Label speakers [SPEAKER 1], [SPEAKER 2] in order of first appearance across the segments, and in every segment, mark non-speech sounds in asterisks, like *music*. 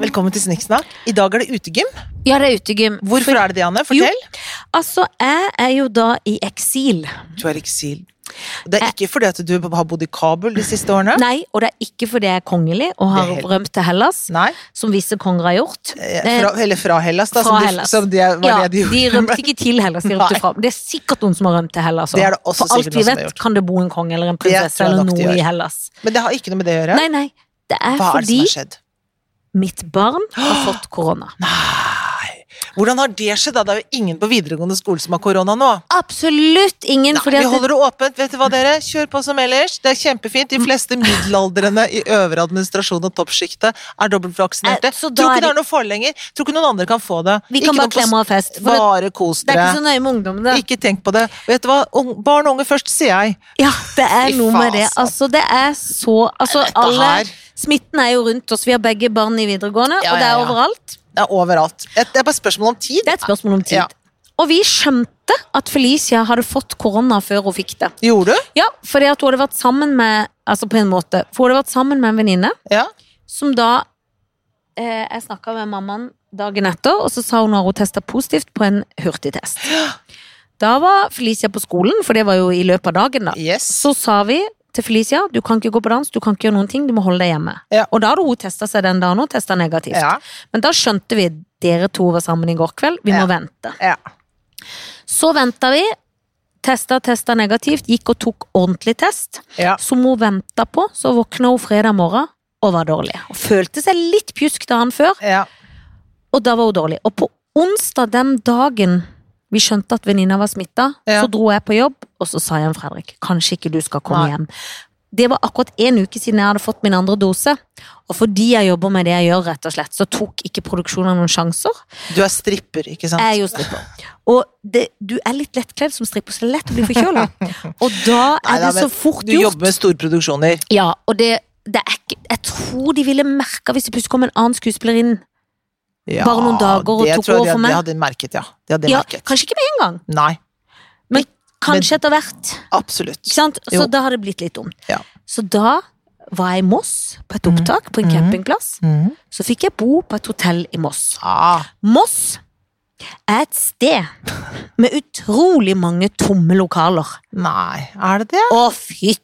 [SPEAKER 1] Velkommen til Snikksnakk. I dag er det utegym.
[SPEAKER 2] Ja, det er utegym.
[SPEAKER 1] Hvorfor er det det, Anne? Fortell.
[SPEAKER 2] Altså, jeg er jo da i eksil.
[SPEAKER 1] Du er i eksil. Det er ikke fordi at du har bodd i Kabul de siste årene.
[SPEAKER 2] Eh, Nei, og det er ikke fordi jeg er kongelig og har
[SPEAKER 1] Det er helt-
[SPEAKER 2] rømt til Hellas,
[SPEAKER 1] Nei.
[SPEAKER 2] som visse konger har gjort.
[SPEAKER 1] Eh, Fra, eller fra Hellas, da.
[SPEAKER 2] Fra
[SPEAKER 1] som de,
[SPEAKER 2] Hellas.
[SPEAKER 1] Som de, var
[SPEAKER 2] ja,
[SPEAKER 1] det de gjorde.
[SPEAKER 2] rømte ikke til Hellas, de rømte
[SPEAKER 1] Nei.
[SPEAKER 2] fra. Men Det er sikkert noen som har rømt til Hellas.
[SPEAKER 1] Det er
[SPEAKER 2] også.
[SPEAKER 1] det også
[SPEAKER 2] For alt
[SPEAKER 1] sikkert
[SPEAKER 2] vi
[SPEAKER 1] noen som har
[SPEAKER 2] vet,
[SPEAKER 1] gjort.
[SPEAKER 2] kan det bo en konge eller en prinsesse
[SPEAKER 1] tror jeg
[SPEAKER 2] eller
[SPEAKER 1] nok de
[SPEAKER 2] noe
[SPEAKER 1] gjør.
[SPEAKER 2] i Hellas.
[SPEAKER 1] Men det har ikke noe med det å gjøre.
[SPEAKER 2] Nei, nei. Det er
[SPEAKER 1] Hva er det
[SPEAKER 2] fordi
[SPEAKER 1] som har skjedd?
[SPEAKER 2] mitt barn har fått
[SPEAKER 1] *gasps*
[SPEAKER 2] korona.
[SPEAKER 1] Nei. Hvordan har det skjedd? da? Det er jo ingen på videregående skole som har korona nå.
[SPEAKER 2] Absolutt ingen,
[SPEAKER 1] Nei,
[SPEAKER 2] fordi
[SPEAKER 1] vi
[SPEAKER 2] at det,
[SPEAKER 1] holder det åpent. Vet du hva, dere? Kjør på som ellers. Det er kjempefint. De fleste middelaldrende i øvre administrasjon og toppsjiktet er dobbeltvaksinerte.
[SPEAKER 2] Eh, så da
[SPEAKER 1] Tror
[SPEAKER 2] er
[SPEAKER 1] ikke det
[SPEAKER 2] de-
[SPEAKER 1] er noe for lenger. Tror ikke noen andre kan få det.
[SPEAKER 2] vi kan
[SPEAKER 1] Ikke
[SPEAKER 2] bare
[SPEAKER 1] noe på-
[SPEAKER 2] klemme av fest. For det,
[SPEAKER 1] Bare kos
[SPEAKER 2] det er
[SPEAKER 1] dere.
[SPEAKER 2] ikke sånn så nøye med ungdommene.
[SPEAKER 1] Ikke tenk på det. Vet du hva, Ung, barn og unge først, sier jeg.
[SPEAKER 2] Ja, det er
[SPEAKER 1] Fy
[SPEAKER 2] noe med det.
[SPEAKER 1] faen,
[SPEAKER 2] Altså, det er så Altså,
[SPEAKER 1] Dette
[SPEAKER 2] alle
[SPEAKER 1] her.
[SPEAKER 2] Smitten er jo rundt oss. Vi har begge barn i videregående,
[SPEAKER 1] Ja,
[SPEAKER 2] og det
[SPEAKER 1] ja,
[SPEAKER 2] er
[SPEAKER 1] ja.
[SPEAKER 2] overalt.
[SPEAKER 1] Det er overalt. Det er bare spørsmål om tid.
[SPEAKER 2] Det er et spørsmål om tid.
[SPEAKER 1] Ja.
[SPEAKER 2] Og vi skjønte at Felicia hadde fått korona før hun fikk det.
[SPEAKER 1] Gjorde du?
[SPEAKER 2] Ja, fordi at hun hadde vært sammen med Altså på en måte. For hun hadde vært sammen med en venninne
[SPEAKER 1] Ja.
[SPEAKER 2] som da eh, Jeg snakka med mammaen dagen etter, og så sa hun at hun testa positivt på en hurtigtest. Da var Felicia på skolen, for det var jo i løpet av dagen, da.
[SPEAKER 1] Yes.
[SPEAKER 2] Så sa vi til Felicia du kan ikke gå på dans, du kan ikke gjøre noen ting, du må holde deg hjemme.
[SPEAKER 1] Ja.
[SPEAKER 2] Og da hadde hun testa seg den dagen og testa negativt.
[SPEAKER 1] Ja.
[SPEAKER 2] Men da skjønte vi dere to var sammen i går kveld, vi
[SPEAKER 1] Ja.
[SPEAKER 2] må vente.
[SPEAKER 1] ja.
[SPEAKER 2] Så venta vi, testa, testa negativt, gikk og tok ordentlig test.
[SPEAKER 1] ja.
[SPEAKER 2] Som hun venta på, så våkna hun fredag morgen og var dårlig. Og følte seg litt pjusk dagen før,
[SPEAKER 1] ja.
[SPEAKER 2] og da var hun dårlig. Og på onsdag den dagen vi skjønte at venninna var smitta,
[SPEAKER 1] Ja.
[SPEAKER 2] så dro jeg på jobb, og så sa jeg om Fredrik, kanskje ikke du skal komme
[SPEAKER 1] Nei.
[SPEAKER 2] hjem. Det var akkurat en uke siden jeg hadde fått min andre dose, og fordi jeg jobber med det jeg gjør, rett og slett, så tok ikke produksjonen noen sjanser.
[SPEAKER 1] Du er stripper, ikke sant?
[SPEAKER 2] Jeg er jo stripper. Og det, du er litt lettkledd som stripper, så det er lett å bli forkjøla.
[SPEAKER 1] *laughs*
[SPEAKER 2] Og da
[SPEAKER 1] Nei,
[SPEAKER 2] er
[SPEAKER 1] da,
[SPEAKER 2] det så
[SPEAKER 1] men
[SPEAKER 2] fort
[SPEAKER 1] Du
[SPEAKER 2] gjort.
[SPEAKER 1] jobber med storproduksjoner.
[SPEAKER 2] Ja, og det, det er ikke Jeg tror de ville merka hvis det plutselig kom en annen skuespiller inn.
[SPEAKER 1] Ja,
[SPEAKER 2] Bare noen dager og
[SPEAKER 1] det
[SPEAKER 2] tok
[SPEAKER 1] tror jeg
[SPEAKER 2] over
[SPEAKER 1] de-
[SPEAKER 2] for meg.
[SPEAKER 1] Det hadde de merket, ja. Det hadde de
[SPEAKER 2] Ja,
[SPEAKER 1] merket.
[SPEAKER 2] kanskje ikke med en gang,
[SPEAKER 1] Nei,
[SPEAKER 2] men kanskje etter hvert.
[SPEAKER 1] absolutt.
[SPEAKER 2] Ikke sant? Så
[SPEAKER 1] Jo.
[SPEAKER 2] da har det blitt litt dumt.
[SPEAKER 1] Ja.
[SPEAKER 2] Så da var jeg i Moss på et opptak på en
[SPEAKER 1] Mhm.
[SPEAKER 2] campingplass.
[SPEAKER 1] Mhm.
[SPEAKER 2] Så fikk jeg bo på et hotell i Moss.
[SPEAKER 1] Ah,
[SPEAKER 2] Moss er et sted med utrolig mange tomme lokaler.
[SPEAKER 1] nei, er det det?
[SPEAKER 2] Å, fytti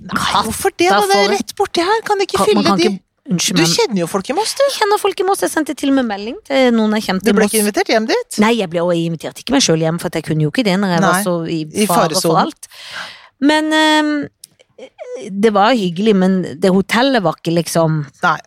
[SPEAKER 1] Nei,
[SPEAKER 2] katt!
[SPEAKER 1] hvorfor det? Da?
[SPEAKER 2] Da
[SPEAKER 1] Det
[SPEAKER 2] får
[SPEAKER 1] er
[SPEAKER 2] vi-
[SPEAKER 1] rett borti her. Kan de ikke
[SPEAKER 2] Kan-
[SPEAKER 1] fylle
[SPEAKER 2] man kan
[SPEAKER 1] de?
[SPEAKER 2] ikke- Unnskyld
[SPEAKER 1] Du
[SPEAKER 2] meg.
[SPEAKER 1] kjenner jo folk i Moss, du.
[SPEAKER 2] Jeg kjenner folk i Moss. Jeg sendte til og med melding til noen jeg kjente
[SPEAKER 1] Du
[SPEAKER 2] i
[SPEAKER 1] ble
[SPEAKER 2] Moss.
[SPEAKER 1] ikke invitert hjem dit?
[SPEAKER 2] Nei, jeg ble også invitert ikke meg sjøl hjem, for at jeg kunne jo ikke det når jeg
[SPEAKER 1] Nei,
[SPEAKER 2] var så i
[SPEAKER 1] i
[SPEAKER 2] fare
[SPEAKER 1] faresonen.
[SPEAKER 2] for alt. Men ehm, det var hyggelig, men det hotellet var ikke liksom
[SPEAKER 1] Nei,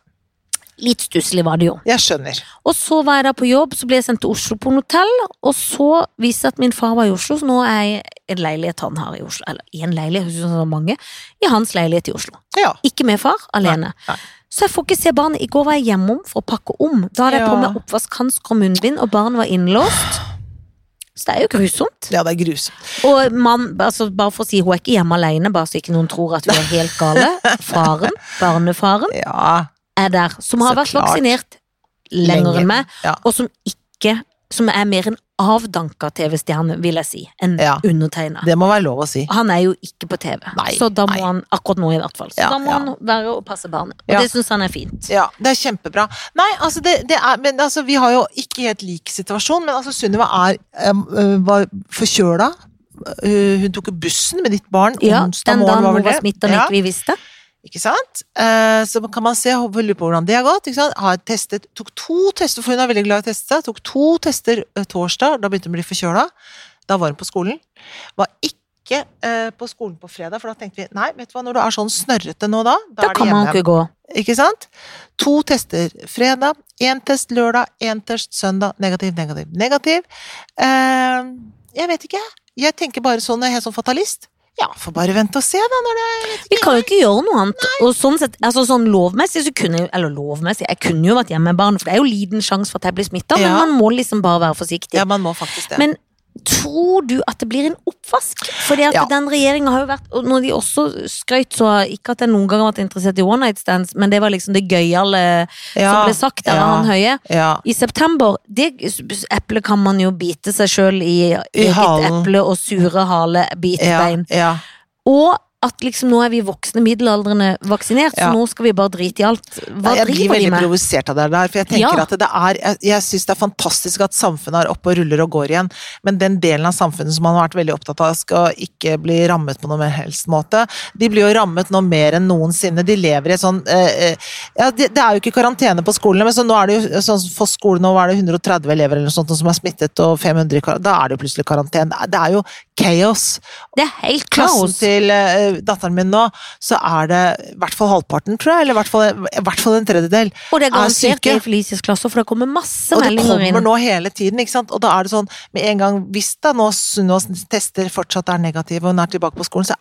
[SPEAKER 2] Litt stusslig var det jo.
[SPEAKER 1] jeg skjønner.
[SPEAKER 2] Og så var jeg da på jobb, så ble jeg sendt til Oslo på en hotell, og så viste det seg at min far var i Oslo, så nå er jeg i en leilighet han har i Oslo. Eller i en leilighet, jeg synes han har mange. I hans leilighet i Oslo.
[SPEAKER 1] Ja.
[SPEAKER 2] Ikke med far, alene.
[SPEAKER 1] nei.
[SPEAKER 2] Så jeg får ikke se barnet. I går var jeg hjemom for å pakke om. Da hadde jeg på
[SPEAKER 1] Ja.
[SPEAKER 2] meg oppvaskhansker og munnbind, og barnet var innlåst. Så det er jo grusomt.
[SPEAKER 1] ja, det er grusomt.
[SPEAKER 2] Og mann, altså bare for å si, hun er ikke hjemme alene, bare så ikke noen tror at hun er helt gale. Faren, barnefaren,
[SPEAKER 1] Ja,
[SPEAKER 2] er der. Som har
[SPEAKER 1] Så
[SPEAKER 2] vært
[SPEAKER 1] klart.
[SPEAKER 2] vaksinert lenger
[SPEAKER 1] Lenge.
[SPEAKER 2] enn meg,
[SPEAKER 1] Ja.
[SPEAKER 2] og som ikke Som er mer en avdanka TV-stjerne, vil jeg si, enn
[SPEAKER 1] Ja.
[SPEAKER 2] undertegna.
[SPEAKER 1] det må være lov å si.
[SPEAKER 2] Han er jo ikke på TV,
[SPEAKER 1] Nei,
[SPEAKER 2] så da må
[SPEAKER 1] nei.
[SPEAKER 2] han akkurat nå i hvert fall. Så
[SPEAKER 1] Ja,
[SPEAKER 2] da må
[SPEAKER 1] ja.
[SPEAKER 2] han være og passe barnet. Og
[SPEAKER 1] Ja.
[SPEAKER 2] det syns han er fint.
[SPEAKER 1] Ja, det er kjempebra. Nei, altså det, det er Men altså, vi har jo ikke helt lik situasjon, men altså Sunniva er em, ø, var forkjøla. Ø, Hun tok bussen med ditt barn
[SPEAKER 2] Ja,
[SPEAKER 1] onsdag
[SPEAKER 2] den dagen
[SPEAKER 1] morgen, var vel
[SPEAKER 2] hun
[SPEAKER 1] det?
[SPEAKER 2] var smitta og
[SPEAKER 1] Ja.
[SPEAKER 2] ikke vi visste.
[SPEAKER 1] Ikke sant? Eh, Så kan man se og lurer på hvordan det har gått. Ikke sant? Har testet, tok to tester, for hun er veldig glad i å teste seg. Tok to tester eh, torsdag, da begynte hun å bli forkjøla. Da var hun på skolen. Var ikke eh, på skolen på fredag, for da tenkte vi nei, vet du hva, når du er sånn snørrete nå da, da,
[SPEAKER 2] Da
[SPEAKER 1] er det
[SPEAKER 2] kan man
[SPEAKER 1] hjemme.
[SPEAKER 2] ikke gå.
[SPEAKER 1] Ikke sant? To tester fredag, én test lørdag, én test søndag. Negativ, negativ, negativ. Eh, Jeg vet ikke. Jeg tenker bare sånn, jeg er helt sånn fatalist. Ja, får bare vente og se, da. Når det
[SPEAKER 2] Vi kan jo ikke gjøre noe annet. Og sånn sett, altså sånn lovmessig så kunne jeg, eller lovmessig, jeg kunne jo vært hjemme med barn, for det er jo liten sjanse for at jeg blir smitta, men
[SPEAKER 1] Ja.
[SPEAKER 2] man må liksom bare være forsiktig.
[SPEAKER 1] ja, man må faktisk det.
[SPEAKER 2] Men tror du at det blir en oppvask? Fordi at
[SPEAKER 1] Ja.
[SPEAKER 2] den regjeringa har jo vært, og når de også skrøyt så, ikke at jeg noen gang har vært interessert i one night stands, men det var liksom det gøyale som ble sagt der
[SPEAKER 1] ja,
[SPEAKER 2] av han Høie.
[SPEAKER 1] Ja.
[SPEAKER 2] I september, det eplet kan man jo bite seg sjøl i, eget
[SPEAKER 1] halen.
[SPEAKER 2] eple og sure hale,
[SPEAKER 1] Ja,
[SPEAKER 2] bitebein.
[SPEAKER 1] ja.
[SPEAKER 2] Og At liksom nå er vi voksne middelaldrende vaksinert, så
[SPEAKER 1] Ja.
[SPEAKER 2] nå skal vi bare drite i alt. Hva
[SPEAKER 1] jeg blir
[SPEAKER 2] driver vi
[SPEAKER 1] veldig
[SPEAKER 2] med?
[SPEAKER 1] provosert av det der, for jeg tenker
[SPEAKER 2] Ja.
[SPEAKER 1] at det er Jeg, jeg syns det er fantastisk at samfunnet er oppe og ruller og går igjen, men den delen av samfunnet som man har vært veldig opptatt av, skal ikke bli rammet på noen mer helst måte. De blir jo rammet nå mer enn noensinne. De lever i sånn eh, eh, Ja, det, det er jo ikke karantene på skolene, men så nå er det jo sånn for skolen nå er det 130 elever eller noe sånt som er smittet, og 500 i kar- Da er det jo plutselig karantene. Det er- Det er jo chaos
[SPEAKER 2] Det er helt
[SPEAKER 1] klassen
[SPEAKER 2] kaos.
[SPEAKER 1] til eh, datteren min nå, så er det i hvert fall halvparten, tror jeg, eller i hvert fall, i hvert fall en tredjedel.
[SPEAKER 2] Og det er
[SPEAKER 1] syke.
[SPEAKER 2] garantert det i Felicias klasse, for det kommer masse
[SPEAKER 1] Og det
[SPEAKER 2] meldinger
[SPEAKER 1] kommer
[SPEAKER 2] inn.
[SPEAKER 1] nå hele tiden, ikke sant. Og da er det sånn, med en gang hvis da nå Sunnaas tester fortsatt er negative, og hun er tilbake på skolen, så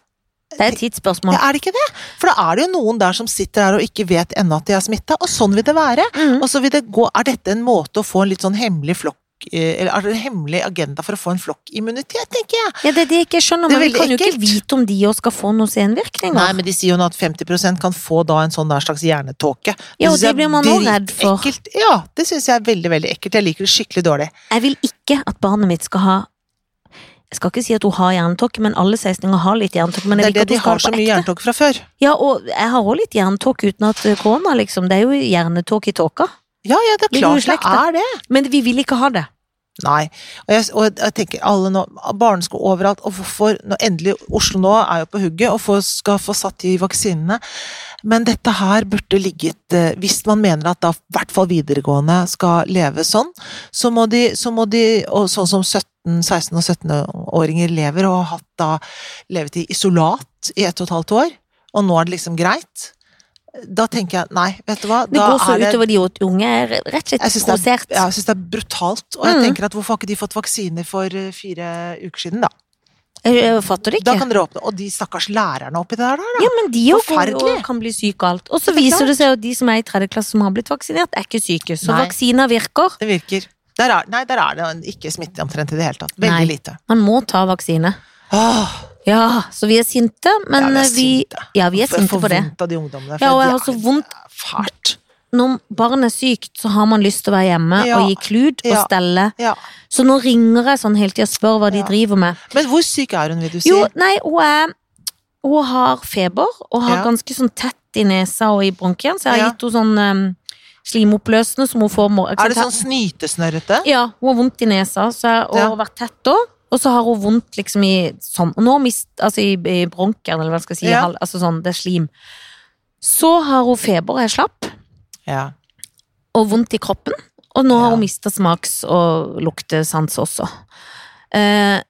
[SPEAKER 2] Det er et tidsspørsmål.
[SPEAKER 1] ja, er det ikke det? For da er det jo noen der som sitter her og ikke vet ennå at de er smitta, og sånn vil det være.
[SPEAKER 2] Mhm.
[SPEAKER 1] Og så vil det gå Er dette en måte å få en litt sånn hemmelig flokk eh, Eller er det en hemmelig agenda for å få en flokkimmunitet, tenker jeg?
[SPEAKER 2] Ja, det er det jeg ikke skjønner,
[SPEAKER 1] Det er
[SPEAKER 2] men vi
[SPEAKER 1] veldig
[SPEAKER 2] kan jo ikke
[SPEAKER 1] ekkelt.
[SPEAKER 2] vite om de også skal få noen senvirkninger.
[SPEAKER 1] Nei, men de sier jo nå at 50 kan få da en sånn der slags hjernetåke.
[SPEAKER 2] Ja, og
[SPEAKER 1] synes jeg
[SPEAKER 2] det blir man også redd for.
[SPEAKER 1] dritekkelt. Ja, det syns jeg er veldig, veldig ekkelt. Jeg liker det skikkelig dårlig.
[SPEAKER 2] Jeg vil ikke at barnet mitt skal ha Jeg skal ikke si at hun har hjernetåke, men alle 16-åringer har litt hjernetåke. Men
[SPEAKER 1] Det
[SPEAKER 2] jeg
[SPEAKER 1] er
[SPEAKER 2] vil
[SPEAKER 1] det
[SPEAKER 2] ikke at
[SPEAKER 1] de
[SPEAKER 2] hun skal
[SPEAKER 1] har
[SPEAKER 2] ha
[SPEAKER 1] så
[SPEAKER 2] det
[SPEAKER 1] mye
[SPEAKER 2] på ekte.
[SPEAKER 1] hjernetåke fra før.
[SPEAKER 2] Ja, og jeg har også litt hjernetåke uten at eh, korona, liksom. Det er jo hjernetåke i tåka.
[SPEAKER 1] Ja, ja, det er
[SPEAKER 2] Ligger jo i
[SPEAKER 1] klart det
[SPEAKER 2] slekta.
[SPEAKER 1] er det.
[SPEAKER 2] Men vi vil ikke ha det.
[SPEAKER 1] Nei. Og jeg, og jeg tenker alle nå, barnesko overalt, og hvorfor nå endelig Oslo nå er jo på hugget og får, skal få satt de vaksinene. Men dette her burde ligget eh, Hvis man mener at da i hvert fall videregående skal leve sånn, så må de, så må de og sånn som 17, 16- og 17-åringer lever, og har hatt da levet i isolat i ett og et halvt år, og nå er det liksom greit, da tenker jeg nei, vet du hva,
[SPEAKER 2] Det
[SPEAKER 1] da
[SPEAKER 2] går så
[SPEAKER 1] er det
[SPEAKER 2] utover de unge. Jeg er rett og slett
[SPEAKER 1] Jeg synes det
[SPEAKER 2] provosert.
[SPEAKER 1] ja, jeg syns det er brutalt. Og jeg
[SPEAKER 2] Mm.
[SPEAKER 1] tenker at hvorfor har ikke de fått vaksiner for eh, fire uker siden, da?
[SPEAKER 2] Jeg, jeg fatter det
[SPEAKER 1] Da
[SPEAKER 2] ikke.
[SPEAKER 1] kan dere åpne. Og de stakkars lærerne oppi der, da?
[SPEAKER 2] Ja, men de jo får jo
[SPEAKER 1] Forferdelig.
[SPEAKER 2] kan bli syke og alt. Og
[SPEAKER 1] Det
[SPEAKER 2] så
[SPEAKER 1] er
[SPEAKER 2] viser
[SPEAKER 1] klart.
[SPEAKER 2] det seg at de som er i tredje klasse som har blitt vaksinert, er ikke syke. Så
[SPEAKER 1] Nei.
[SPEAKER 2] vaksiner virker.
[SPEAKER 1] Det virker. Der er, nei, der er det ikke smitte omtrent i det hele tatt. Veldig
[SPEAKER 2] Nei.
[SPEAKER 1] lite.
[SPEAKER 2] Man må ta vaksine.
[SPEAKER 1] Åh,
[SPEAKER 2] Ja, så vi er sinte, men
[SPEAKER 1] ja, vi er
[SPEAKER 2] vi
[SPEAKER 1] sinte.
[SPEAKER 2] Ja, vi er
[SPEAKER 1] Jeg
[SPEAKER 2] sinte
[SPEAKER 1] får
[SPEAKER 2] på det.
[SPEAKER 1] vondt av de ungdommene. for
[SPEAKER 2] Ja, og jeg
[SPEAKER 1] de
[SPEAKER 2] har
[SPEAKER 1] er-
[SPEAKER 2] så vondt
[SPEAKER 1] det er Fælt.
[SPEAKER 2] Når barn er sykt, så har man lyst til å være hjemme
[SPEAKER 1] Ja.
[SPEAKER 2] og gi klud og
[SPEAKER 1] Ja.
[SPEAKER 2] stelle.
[SPEAKER 1] Ja.
[SPEAKER 2] Så nå ringer jeg sånn hele tida og spør hva de
[SPEAKER 1] Ja.
[SPEAKER 2] driver med.
[SPEAKER 1] Men hvor syk er hun, vil du si?
[SPEAKER 2] Jo, nei, hun er Hun har feber og har
[SPEAKER 1] Ja.
[SPEAKER 2] ganske sånn tett i nesa og i bronkien, så jeg har
[SPEAKER 1] Ja.
[SPEAKER 2] gitt henne sånn um, slimoppløsende som hun får mor-
[SPEAKER 1] er det sånn snytesnørrete?
[SPEAKER 2] Ja, hun har vondt i nesa, så jeg, og
[SPEAKER 1] Ja.
[SPEAKER 2] har vært tett da. Og så har hun vondt liksom i sånn Og nå mist, altså i, i bronkien, eller hva jeg skal si.
[SPEAKER 1] Ja.
[SPEAKER 2] hal- Altså sånn, det er slim. Så har hun feber, og er slapp,
[SPEAKER 1] Ja.
[SPEAKER 2] og vondt i kroppen. Og nå
[SPEAKER 1] Ja.
[SPEAKER 2] har hun mista smaks- og luktesans også. Eh,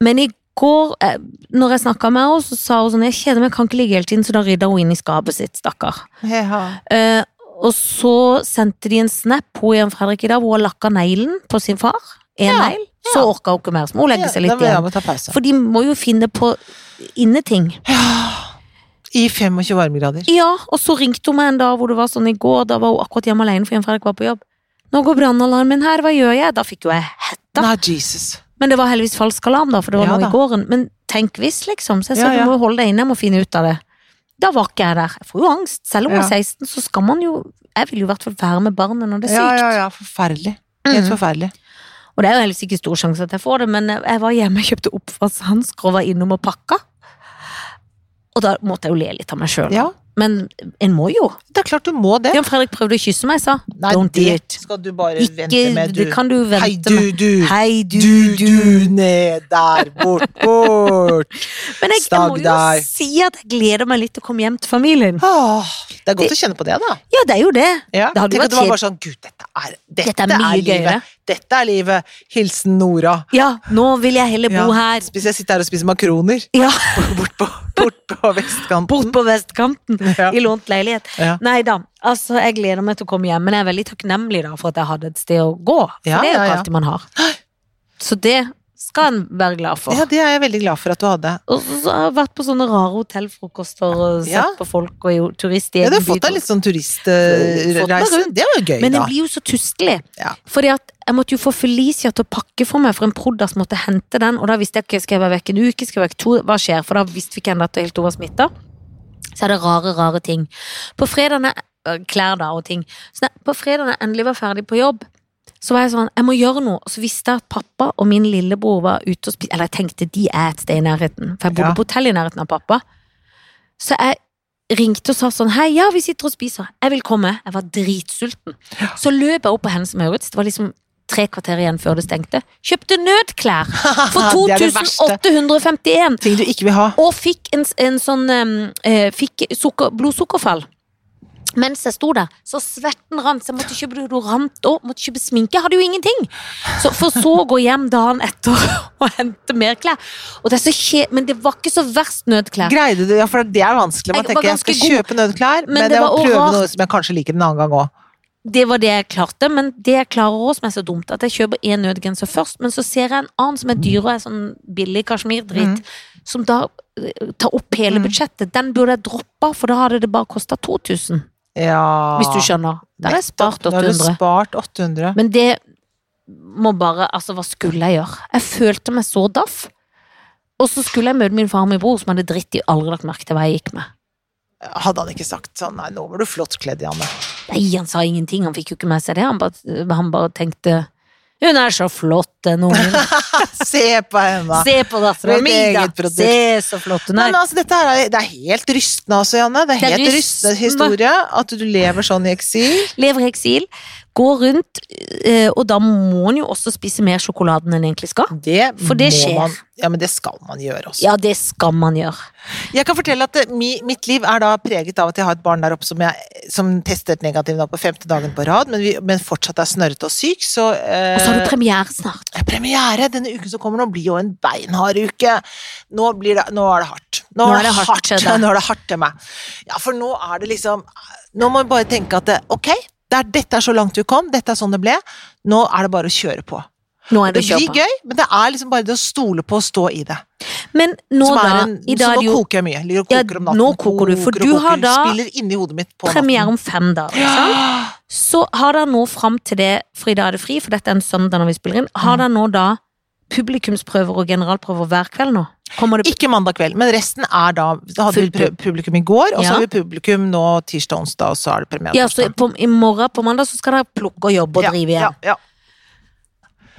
[SPEAKER 2] men i går, eh, når jeg snakka med henne, så sa hun sånn Jeg kjeder meg, jeg kan ikke ligge hele tiden, så da rydda hun inn i skapet sitt, stakkar.
[SPEAKER 1] ja.
[SPEAKER 2] Eh, og så sendte de en snap hun Jan Fredrik i dag, hvor hun lakka neglen på sin far. En
[SPEAKER 1] Ja,
[SPEAKER 2] negl. Så orka hun ikke mer, så må hun legge
[SPEAKER 1] Ja, da
[SPEAKER 2] seg litt
[SPEAKER 1] må jeg
[SPEAKER 2] igjen.
[SPEAKER 1] må ta pause.
[SPEAKER 2] For de må jo finne på inneting.
[SPEAKER 1] I 25 varmegrader.
[SPEAKER 2] Ja, og så ringte hun meg en dag hvor det var sånn i går, da var hun akkurat hjemme alene for Jan Fredrik var på jobb. Nå går brannalarmen her, hva gjør jeg? Da fikk jo jeg hetta.
[SPEAKER 1] Nei, Jesus.
[SPEAKER 2] Men det var heldigvis falsk alarm, da, for det var
[SPEAKER 1] Ja
[SPEAKER 2] noe
[SPEAKER 1] da.
[SPEAKER 2] i gården. Men tenk hvis, liksom. Så jeg sa
[SPEAKER 1] Ja, ja.
[SPEAKER 2] du må holde deg inne, jeg må finne ut av det. Da var ikke jeg der. Jeg får jo angst. Selv om hun
[SPEAKER 1] Ja.
[SPEAKER 2] er 16, så skal man jo Jeg vil jo i hvert fall være med barnet når det er sykt.
[SPEAKER 1] Ja, ja, ja. Forferdelig. Helt
[SPEAKER 2] Mm.
[SPEAKER 1] forferdelig.
[SPEAKER 2] Og det er jo helst ikke stor sjanse at jeg får det, men jeg var hjemme og kjøpte oppvaskhansker og var innom og pakka. Og da måtte jeg jo le litt av meg sjøl.
[SPEAKER 1] Ja,
[SPEAKER 2] Men en må jo.
[SPEAKER 1] det er klart du må det.
[SPEAKER 2] Jan Fredrik prøvde å kysse meg, sa
[SPEAKER 1] Nei,
[SPEAKER 2] Don't do
[SPEAKER 1] det
[SPEAKER 2] it.
[SPEAKER 1] skal du bare vente
[SPEAKER 2] Ikke,
[SPEAKER 1] med, du.
[SPEAKER 2] det kan du vente
[SPEAKER 1] Hei, du,
[SPEAKER 2] med.
[SPEAKER 1] du.
[SPEAKER 2] Hei, du,
[SPEAKER 1] Du,
[SPEAKER 2] du.
[SPEAKER 1] du, ned der,
[SPEAKER 2] *laughs*
[SPEAKER 1] bort, bort.
[SPEAKER 2] Men jeg, jeg
[SPEAKER 1] Stag
[SPEAKER 2] må jo
[SPEAKER 1] deg.
[SPEAKER 2] si at jeg gleder meg litt til å komme hjem til familien.
[SPEAKER 1] Åh, det er godt å kjenne på det, da.
[SPEAKER 2] Ah, Ja, det er jo det.
[SPEAKER 1] Ja.
[SPEAKER 2] Det hadde
[SPEAKER 1] Tenk
[SPEAKER 2] vært
[SPEAKER 1] at du var
[SPEAKER 2] kjed-
[SPEAKER 1] bare sånn Gud, dette er, dette
[SPEAKER 2] Dette er
[SPEAKER 1] er,
[SPEAKER 2] mye
[SPEAKER 1] livet.
[SPEAKER 2] gøyere.
[SPEAKER 1] Dette er livet. Hilsen Nora.
[SPEAKER 2] Ja, nå vil jeg heller
[SPEAKER 1] Ja.
[SPEAKER 2] bo her.
[SPEAKER 1] Hvis jeg sitter her og spiser makroner
[SPEAKER 2] Ja,
[SPEAKER 1] *laughs* bort på, bort på vestkanten.
[SPEAKER 2] Bort på vestkanten.
[SPEAKER 1] Ja.
[SPEAKER 2] I lånt leilighet.
[SPEAKER 1] Ja.
[SPEAKER 2] Nei da, altså jeg gleder meg til å komme hjem, men jeg er veldig takknemlig da for at jeg hadde et sted å gå. For
[SPEAKER 1] Ja,
[SPEAKER 2] det er jo
[SPEAKER 1] ja,
[SPEAKER 2] ikke
[SPEAKER 1] ja.
[SPEAKER 2] alltid man har. Så det skal en være glad for.
[SPEAKER 1] Ja, det er jeg veldig glad for at du hadde.
[SPEAKER 2] Og så så har jeg vært på sånne rare hotellfrokoster og sett
[SPEAKER 1] Ja.
[SPEAKER 2] på folk og jo turist i
[SPEAKER 1] Ja, du
[SPEAKER 2] egen
[SPEAKER 1] har fått
[SPEAKER 2] by.
[SPEAKER 1] deg litt sånn
[SPEAKER 2] Fått meg
[SPEAKER 1] turistreise.
[SPEAKER 2] rundt.
[SPEAKER 1] Det var jo gøy,
[SPEAKER 2] Men
[SPEAKER 1] da.
[SPEAKER 2] jeg blir jo så tustelig.
[SPEAKER 1] Ja.
[SPEAKER 2] Fordi at jeg måtte jo få Felicia til å pakke for meg, for en prod.ass måtte hente den. Og da visste jeg ikke, skal jeg være vekk en uke, skal jeg være vekk to, hva skjer? For da visste vi ikke ennå at det helt var smitta. Så er det rare, rare ting. På fredagen jeg- øh, Klær, da, og ting. Så når- på fredagen jeg endelig var ferdig på jobb, så var jeg sånn, jeg må gjøre noe. Og så visste jeg at pappa og min lillebror var ute og spiste Eller jeg tenkte de er et sted i nærheten, for jeg bodde
[SPEAKER 1] Ja.
[SPEAKER 2] på hotell i nærheten av pappa. Så jeg ringte og sa sånn Hei, ja, vi sitter og spiser. Jeg vil komme. Jeg var dritsulten. Så løp jeg opp på Hennes Maurits. Det var liksom tre kvarter igjen før det stengte. Kjøpte nødklær for
[SPEAKER 1] *laughs* Det er det verste.
[SPEAKER 2] 2851!
[SPEAKER 1] Ting du ikke vil ha.
[SPEAKER 2] Og fikk en, en sånn em, eh, Fikk sukker, blodsukkerfall. Mens jeg sto der, så svetten rant. Så jeg måtte kjøpe deodorant og måtte kjøpe sminke. Jeg hadde jo ingenting. Så, for så å gå hjem dagen etter *laughs* og hente mer klær. Og det er så kje, men det var ikke så verst nødklær.
[SPEAKER 1] Greide du, ja, for det er vanskelig. Man
[SPEAKER 2] Jeg var
[SPEAKER 1] tenker jeg skal
[SPEAKER 2] ganske god,
[SPEAKER 1] kjøpe nødklær,
[SPEAKER 2] men
[SPEAKER 1] men,
[SPEAKER 2] det
[SPEAKER 1] jeg
[SPEAKER 2] var
[SPEAKER 1] må prøve
[SPEAKER 2] rart.
[SPEAKER 1] noe som jeg kanskje liker en annen gang òg.
[SPEAKER 2] Det var det jeg klarte, men det jeg klarer også, som er så dumt, at jeg kjøper én nødgenser først, men så ser jeg en annen som er
[SPEAKER 1] Mm.
[SPEAKER 2] dyrere, sånn billig kasjmirdritt, som da eh, tar opp hele
[SPEAKER 1] Mm.
[SPEAKER 2] budsjettet. Den burde jeg droppa, for da hadde det bare kosta 2000.
[SPEAKER 1] Ja.
[SPEAKER 2] Hvis du skjønner. Der har jeg spart
[SPEAKER 1] Ah, Nettopp, da har du
[SPEAKER 2] 800.
[SPEAKER 1] spart 800.
[SPEAKER 2] Men det må bare Altså, hva skulle jeg gjøre? Jeg følte meg så daff. Og så skulle jeg møte min far og min bror, som hadde dritt i aldri lagt merke til hva jeg gikk med.
[SPEAKER 1] Hadde han ikke sagt sånn nei, nå var du flott kledd, Janne.
[SPEAKER 2] Nei, han sa ingenting, han fikk jo ikke med seg det. Han bare, han bare tenkte Hun er så flott, den ungen.
[SPEAKER 1] Se på henne!
[SPEAKER 2] Se på dattera
[SPEAKER 1] Mitt
[SPEAKER 2] mi, da.
[SPEAKER 1] eget produkt.
[SPEAKER 2] Se så flott hun
[SPEAKER 1] Nei,
[SPEAKER 2] er.
[SPEAKER 1] men altså, dette her er, det er helt rystende, altså, Janne. Det er
[SPEAKER 2] Det er
[SPEAKER 1] helt rystende
[SPEAKER 2] rystende.
[SPEAKER 1] historie at du lever sånn i eksil.
[SPEAKER 2] Lever i eksil, går rundt, eh, og da må han jo også spise mer sjokolade enn han egentlig skal.
[SPEAKER 1] Det
[SPEAKER 2] For det
[SPEAKER 1] må
[SPEAKER 2] skjer.
[SPEAKER 1] Man, ja, men det skal man gjøre også.
[SPEAKER 2] Ja, det skal man gjøre.
[SPEAKER 1] Jeg kan fortelle at eh, mi, mitt liv er da preget av at jeg har et barn der oppe som, jeg, som testet negativt nå på femte dagen på rad, men, vi, men fortsatt er snørrete og syk, så eh,
[SPEAKER 2] Og så har du premiere snart.
[SPEAKER 1] Premiere denne uken som kommer nå, blir jo en beinhard uke. Nå, blir det, nå er det hardt. Nå, er det hardt,
[SPEAKER 2] til deg.
[SPEAKER 1] nå er det hardt til meg. Ja, for nå er det liksom Nå må vi bare tenke at det, ok, det er, dette er så langt vi kom, dette er sånn det ble. Nå er det bare å kjøre på.
[SPEAKER 2] Nå er
[SPEAKER 1] Det
[SPEAKER 2] det
[SPEAKER 1] blir
[SPEAKER 2] kjøpa.
[SPEAKER 1] gøy, men det er liksom bare det å stole på og stå i det.
[SPEAKER 2] Men nå
[SPEAKER 1] Som er
[SPEAKER 2] da,
[SPEAKER 1] en,
[SPEAKER 2] i dag
[SPEAKER 1] så
[SPEAKER 2] er det
[SPEAKER 1] nå
[SPEAKER 2] jo
[SPEAKER 1] koker jeg mye. Ligger og
[SPEAKER 2] Ja,
[SPEAKER 1] koker om natten.
[SPEAKER 2] nå koker du, for
[SPEAKER 1] koker og
[SPEAKER 2] du har
[SPEAKER 1] koker.
[SPEAKER 2] da
[SPEAKER 1] Spiller inni hodet mitt på
[SPEAKER 2] premiere
[SPEAKER 1] natten.
[SPEAKER 2] om fem dager. ikke sant?
[SPEAKER 1] Ja.
[SPEAKER 2] Så har dere nå fram til det, for i dag er det fri, for dette er en søndag når vi spiller inn,
[SPEAKER 1] Mm.
[SPEAKER 2] har dere nå da publikumsprøver og generalprøver hver kveld nå? Kommer det
[SPEAKER 1] Ikke mandag kveld, men resten er da Da hadde vi
[SPEAKER 2] Fullt pub.
[SPEAKER 1] pr- publikum i går, og
[SPEAKER 2] Ja.
[SPEAKER 1] så har vi publikum nå tirsdag, onsdag, og så er det premiere
[SPEAKER 2] ja, så på, I morgen på mandag så skal dere plukke og jobbe og
[SPEAKER 1] Ja,
[SPEAKER 2] drive
[SPEAKER 1] ja,
[SPEAKER 2] igjen.
[SPEAKER 1] ja.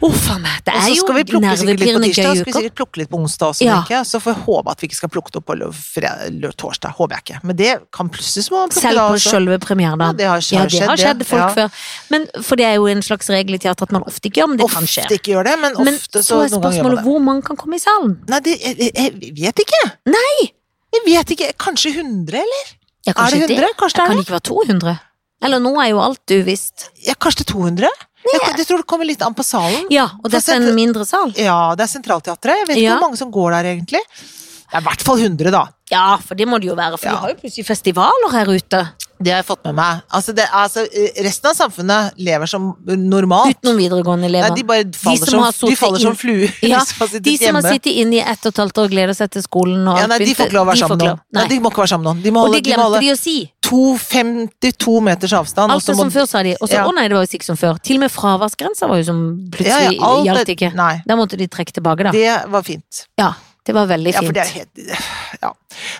[SPEAKER 2] Uff a meg, det
[SPEAKER 1] Og
[SPEAKER 2] er
[SPEAKER 1] så skal vi
[SPEAKER 2] jo
[SPEAKER 1] plukke sikkert litt på
[SPEAKER 2] nervepirrende
[SPEAKER 1] tirsdag,
[SPEAKER 2] gøy
[SPEAKER 1] så skal vi
[SPEAKER 2] uker.
[SPEAKER 1] sikkert plukke litt på onsdag også,
[SPEAKER 2] Ja.
[SPEAKER 1] tenker jeg. Så får jeg håpe at vi ikke skal plukke det opp på lø- fre- lø- torsdag. Håper jeg ikke. Men det kan plutselig så må man plukke
[SPEAKER 2] Selv
[SPEAKER 1] da
[SPEAKER 2] på
[SPEAKER 1] også.
[SPEAKER 2] selve
[SPEAKER 1] Ja,
[SPEAKER 2] premieredagen.
[SPEAKER 1] det har,
[SPEAKER 2] Ja, det har skjedd
[SPEAKER 1] det.
[SPEAKER 2] folk
[SPEAKER 1] Ja.
[SPEAKER 2] før. Men, for det er jo en slags regel i teater at man ofte ikke gjør, men det kan skje.
[SPEAKER 1] Ofte ikke gjør det, men
[SPEAKER 2] Men
[SPEAKER 1] ofte så,
[SPEAKER 2] så
[SPEAKER 1] noen ganger
[SPEAKER 2] er
[SPEAKER 1] gjør man
[SPEAKER 2] spørsmålet
[SPEAKER 1] det.
[SPEAKER 2] hvor mange kan komme i salen.
[SPEAKER 1] Nei, det, jeg, jeg- jeg vet ikke. Nei! Jeg vet ikke. Kanskje 100, eller? Er
[SPEAKER 2] Ja,
[SPEAKER 1] det
[SPEAKER 2] kanskje
[SPEAKER 1] 100? Kanskje det
[SPEAKER 2] Kan
[SPEAKER 1] er
[SPEAKER 2] det
[SPEAKER 1] det?
[SPEAKER 2] ikke være 200? Eller nå er jo alt uvisst.
[SPEAKER 1] Ja, kanskje det er 200? Jeg, jeg tror det kommer litt an på salen.
[SPEAKER 2] Ja, og
[SPEAKER 1] For
[SPEAKER 2] dette er en
[SPEAKER 1] sent-
[SPEAKER 2] mindre sal.
[SPEAKER 1] Ja, det er Sentralteatret. Jeg vet ikke
[SPEAKER 2] Ja.
[SPEAKER 1] hvor mange som går der, egentlig. Det er i hvert fall 100, da.
[SPEAKER 2] Ja, for det må det jo være, for
[SPEAKER 1] Ja.
[SPEAKER 2] vi har jo plutselig festivaler her ute.
[SPEAKER 1] Det har jeg fått med meg. Altså, det, altså, resten av samfunnet lever som normalt.
[SPEAKER 2] Utenom videregående
[SPEAKER 1] Nei,
[SPEAKER 2] elever.
[SPEAKER 1] de bare faller
[SPEAKER 2] som
[SPEAKER 1] som,
[SPEAKER 2] har
[SPEAKER 1] de
[SPEAKER 2] sittet
[SPEAKER 1] faller
[SPEAKER 2] inn-
[SPEAKER 1] som fluer.
[SPEAKER 2] Ja,
[SPEAKER 1] de som har sittet
[SPEAKER 2] de som har
[SPEAKER 1] hjemme.
[SPEAKER 2] sittet inne i ett og et halvt år og gleder seg til skolen og
[SPEAKER 1] ja, nei,
[SPEAKER 2] alt
[SPEAKER 1] de får ikke lov å være sammen med noen. Nei,
[SPEAKER 2] Nei.
[SPEAKER 1] de må ikke være sammen med noen. De må
[SPEAKER 2] Og
[SPEAKER 1] holde,
[SPEAKER 2] det
[SPEAKER 1] de må
[SPEAKER 2] glemte
[SPEAKER 1] holde
[SPEAKER 2] de å si.
[SPEAKER 1] to- 52 meters avstand. og
[SPEAKER 2] Alt
[SPEAKER 1] så
[SPEAKER 2] er
[SPEAKER 1] må-
[SPEAKER 2] som før, sa de. Og så,
[SPEAKER 1] Ja.
[SPEAKER 2] å nei, det var jo ikke som før. Til og med fraværsgrensa var jo som
[SPEAKER 1] Ja, ja,
[SPEAKER 2] plutselig
[SPEAKER 1] alt er-
[SPEAKER 2] gjaldt ikke.
[SPEAKER 1] Nei,
[SPEAKER 2] Da måtte de trekke tilbake, da.
[SPEAKER 1] det var fint.
[SPEAKER 2] Ja, det var veldig
[SPEAKER 1] Ja, for
[SPEAKER 2] fint.
[SPEAKER 1] det er helt ja.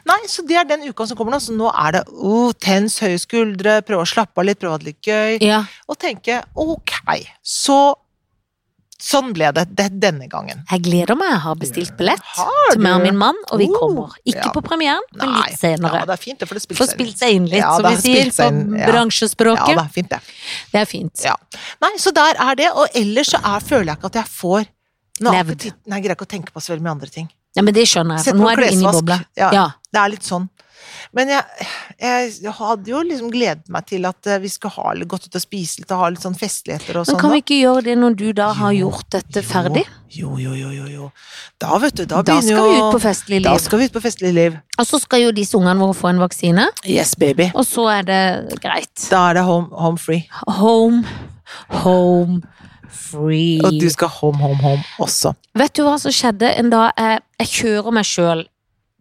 [SPEAKER 1] Nei, så det er den uka som kommer nå. Så nå er det oh, tens høye skuldre, prøve å slappe av litt, prøve å ha det litt gøy.
[SPEAKER 2] Ja.
[SPEAKER 1] og tenke ok, så sånn ble det, det denne gangen.
[SPEAKER 2] Jeg gleder meg, jeg har bestilt billett
[SPEAKER 1] Har
[SPEAKER 2] til meg og
[SPEAKER 1] du?
[SPEAKER 2] min mann, og vi
[SPEAKER 1] Oh,
[SPEAKER 2] kommer. Ikke
[SPEAKER 1] ja.
[SPEAKER 2] på premieren, men litt senere.
[SPEAKER 1] Ja, det er fint, det, for det spilte
[SPEAKER 2] Få spilt seg inn litt,
[SPEAKER 1] Ja,
[SPEAKER 2] som
[SPEAKER 1] det
[SPEAKER 2] vi
[SPEAKER 1] har
[SPEAKER 2] sier
[SPEAKER 1] spilt
[SPEAKER 2] på
[SPEAKER 1] seg inn, ja. Ja,
[SPEAKER 2] bransjespråket.
[SPEAKER 1] det er fint, det.
[SPEAKER 2] Det er fint.
[SPEAKER 1] Ja. Nei, så der er det. Og ellers så er, føler jeg ikke at jeg får noe
[SPEAKER 2] Levd.
[SPEAKER 1] appetitt. Nei, jeg greier ikke å tenke på så veldig mye andre ting.
[SPEAKER 2] Ja, men det skjønner jeg,
[SPEAKER 1] Sett
[SPEAKER 2] for nå
[SPEAKER 1] på
[SPEAKER 2] er du inne i
[SPEAKER 1] klesvask.
[SPEAKER 2] bobla.
[SPEAKER 1] Ja.
[SPEAKER 2] Ja.
[SPEAKER 1] Det er litt sånn. Men jeg, jeg hadde jo liksom gledet meg til at eh, vi skulle ha litt- gått ut og spise litt og ha litt sånn festligheter og
[SPEAKER 2] Men
[SPEAKER 1] sånn. da.
[SPEAKER 2] kan vi ikke gjøre det når du da har
[SPEAKER 1] Jo,
[SPEAKER 2] gjort dette ferdig?
[SPEAKER 1] Jo, jo, jo, jo, jo. Da, vet du, da
[SPEAKER 2] Da
[SPEAKER 1] begynner
[SPEAKER 2] skal
[SPEAKER 1] jo
[SPEAKER 2] vi ut på festlig
[SPEAKER 1] Da
[SPEAKER 2] liv.
[SPEAKER 1] skal vi ut på festlig liv.
[SPEAKER 2] Og så skal jo disse ungene våre få en vaksine,
[SPEAKER 1] Yes, baby.
[SPEAKER 2] og så er det greit.
[SPEAKER 1] Da er det home, home free.
[SPEAKER 2] Home, home, free.
[SPEAKER 1] Og du skal home, home, home også.
[SPEAKER 2] Vet du hva som skjedde en dag? Jeg, jeg kjører meg sjøl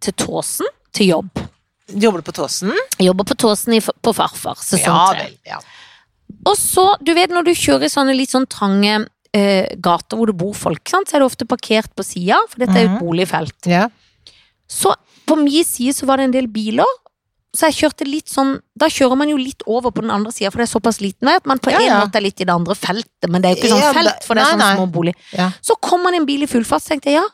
[SPEAKER 2] til Tåsen, til jobb.
[SPEAKER 1] Jobber du på Tåsen?
[SPEAKER 2] Jeg jobber på Tåsen i, på Farfar, sesong
[SPEAKER 1] Ja
[SPEAKER 2] tre.
[SPEAKER 1] vel. Ja.
[SPEAKER 2] Og så, du vet når du kjører i sånne litt sånn trange eh, gater hvor det bor folk, sant? så er det ofte parkert på sida, for dette er jo et
[SPEAKER 1] Mhm.
[SPEAKER 2] boligfelt.
[SPEAKER 1] Ja.
[SPEAKER 2] Så på min side så var det en del biler. Så jeg kjørte litt sånn Da kjører man jo litt over på den andre sida, for det er såpass liten vei at man på
[SPEAKER 1] Ja,
[SPEAKER 2] en
[SPEAKER 1] ja.
[SPEAKER 2] måte er litt i det andre feltet, men det er jo ikke sånn
[SPEAKER 1] Ja, men
[SPEAKER 2] felt,
[SPEAKER 1] det-
[SPEAKER 2] for det er
[SPEAKER 1] nei,
[SPEAKER 2] sånn
[SPEAKER 1] nei.
[SPEAKER 2] små bolig.
[SPEAKER 1] Ja.
[SPEAKER 2] Så kom man en bil i full fart, så tenkte jeg ja,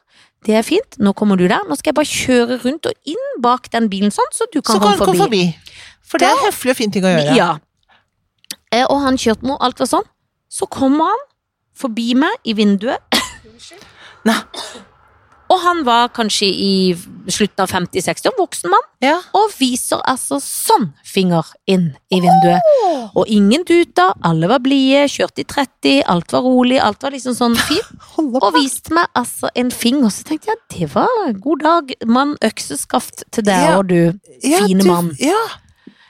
[SPEAKER 2] Det er fint, nå kommer du der. Nå skal jeg bare kjøre rundt og inn bak den bilen, sånn, så du kan
[SPEAKER 1] Så
[SPEAKER 2] komme
[SPEAKER 1] kan du
[SPEAKER 2] forbi.
[SPEAKER 1] komme forbi. For det er en høflig og fin ting å gjøre.
[SPEAKER 2] Ja. Eh, Og han kjørte med, alt var sånn. Så kommer han forbi meg i vinduet.
[SPEAKER 1] Nei.
[SPEAKER 2] Og han var kanskje i slutten av 50-60, en voksen mann,
[SPEAKER 1] Ja.
[SPEAKER 2] og viser altså sånn finger inn i vinduet. Og ingen duta, alle var blide, kjørte i 30, alt var rolig, alt var liksom sånn fint.
[SPEAKER 1] Hold
[SPEAKER 2] Og viste meg altså en finger, så tenkte jeg, det var god dag, mann, økseskaft til deg
[SPEAKER 1] Ja.
[SPEAKER 2] og du. fine
[SPEAKER 1] du-
[SPEAKER 2] mann.
[SPEAKER 1] Ja.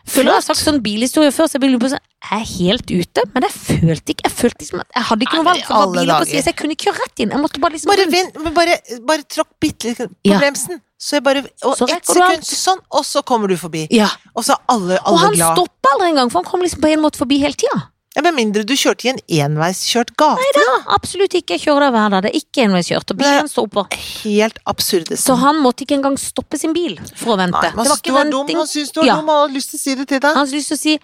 [SPEAKER 2] Føler jeg har sagt sånn bilhistorie før, så jeg begynner på sånn, jeg er helt ute, men jeg følte ikke, jeg følte liksom at jeg hadde ikke noe
[SPEAKER 1] Nei,
[SPEAKER 2] valg,
[SPEAKER 1] men
[SPEAKER 2] for det var
[SPEAKER 1] alle
[SPEAKER 2] biler på
[SPEAKER 1] dager.
[SPEAKER 2] siden, så jeg kunne ikke kjøre rett inn. Jeg måtte bare liksom...
[SPEAKER 1] Bare vent, men bare, bare tråkk bitte litt på
[SPEAKER 2] Ja.
[SPEAKER 1] bremsen. Så jeg bare Og
[SPEAKER 2] Så
[SPEAKER 1] ett
[SPEAKER 2] rekker du alt.
[SPEAKER 1] sekund sånn, og så kommer du forbi.
[SPEAKER 2] Ja,
[SPEAKER 1] Og så er alle,
[SPEAKER 2] og
[SPEAKER 1] alle
[SPEAKER 2] han
[SPEAKER 1] glad.
[SPEAKER 2] stoppet aldri en gang, for han kom liksom på en måte forbi hele tiden.
[SPEAKER 1] Ja, med mindre du kjørte i en enveiskjørt gate.
[SPEAKER 2] Absolutt ikke, jeg kjører der hver dag, det er ikke enveiskjørt, og bilen står på.
[SPEAKER 1] Helt absurde.
[SPEAKER 2] Så han måtte ikke engang stoppe sin bil for å vente.
[SPEAKER 1] Nei, man
[SPEAKER 2] det var
[SPEAKER 1] syns du
[SPEAKER 2] ikke
[SPEAKER 1] var dum,
[SPEAKER 2] venting.
[SPEAKER 1] han syns du var
[SPEAKER 2] Ja.
[SPEAKER 1] dum, og har lyst til å si det til deg.
[SPEAKER 2] Han hadde lyst til å si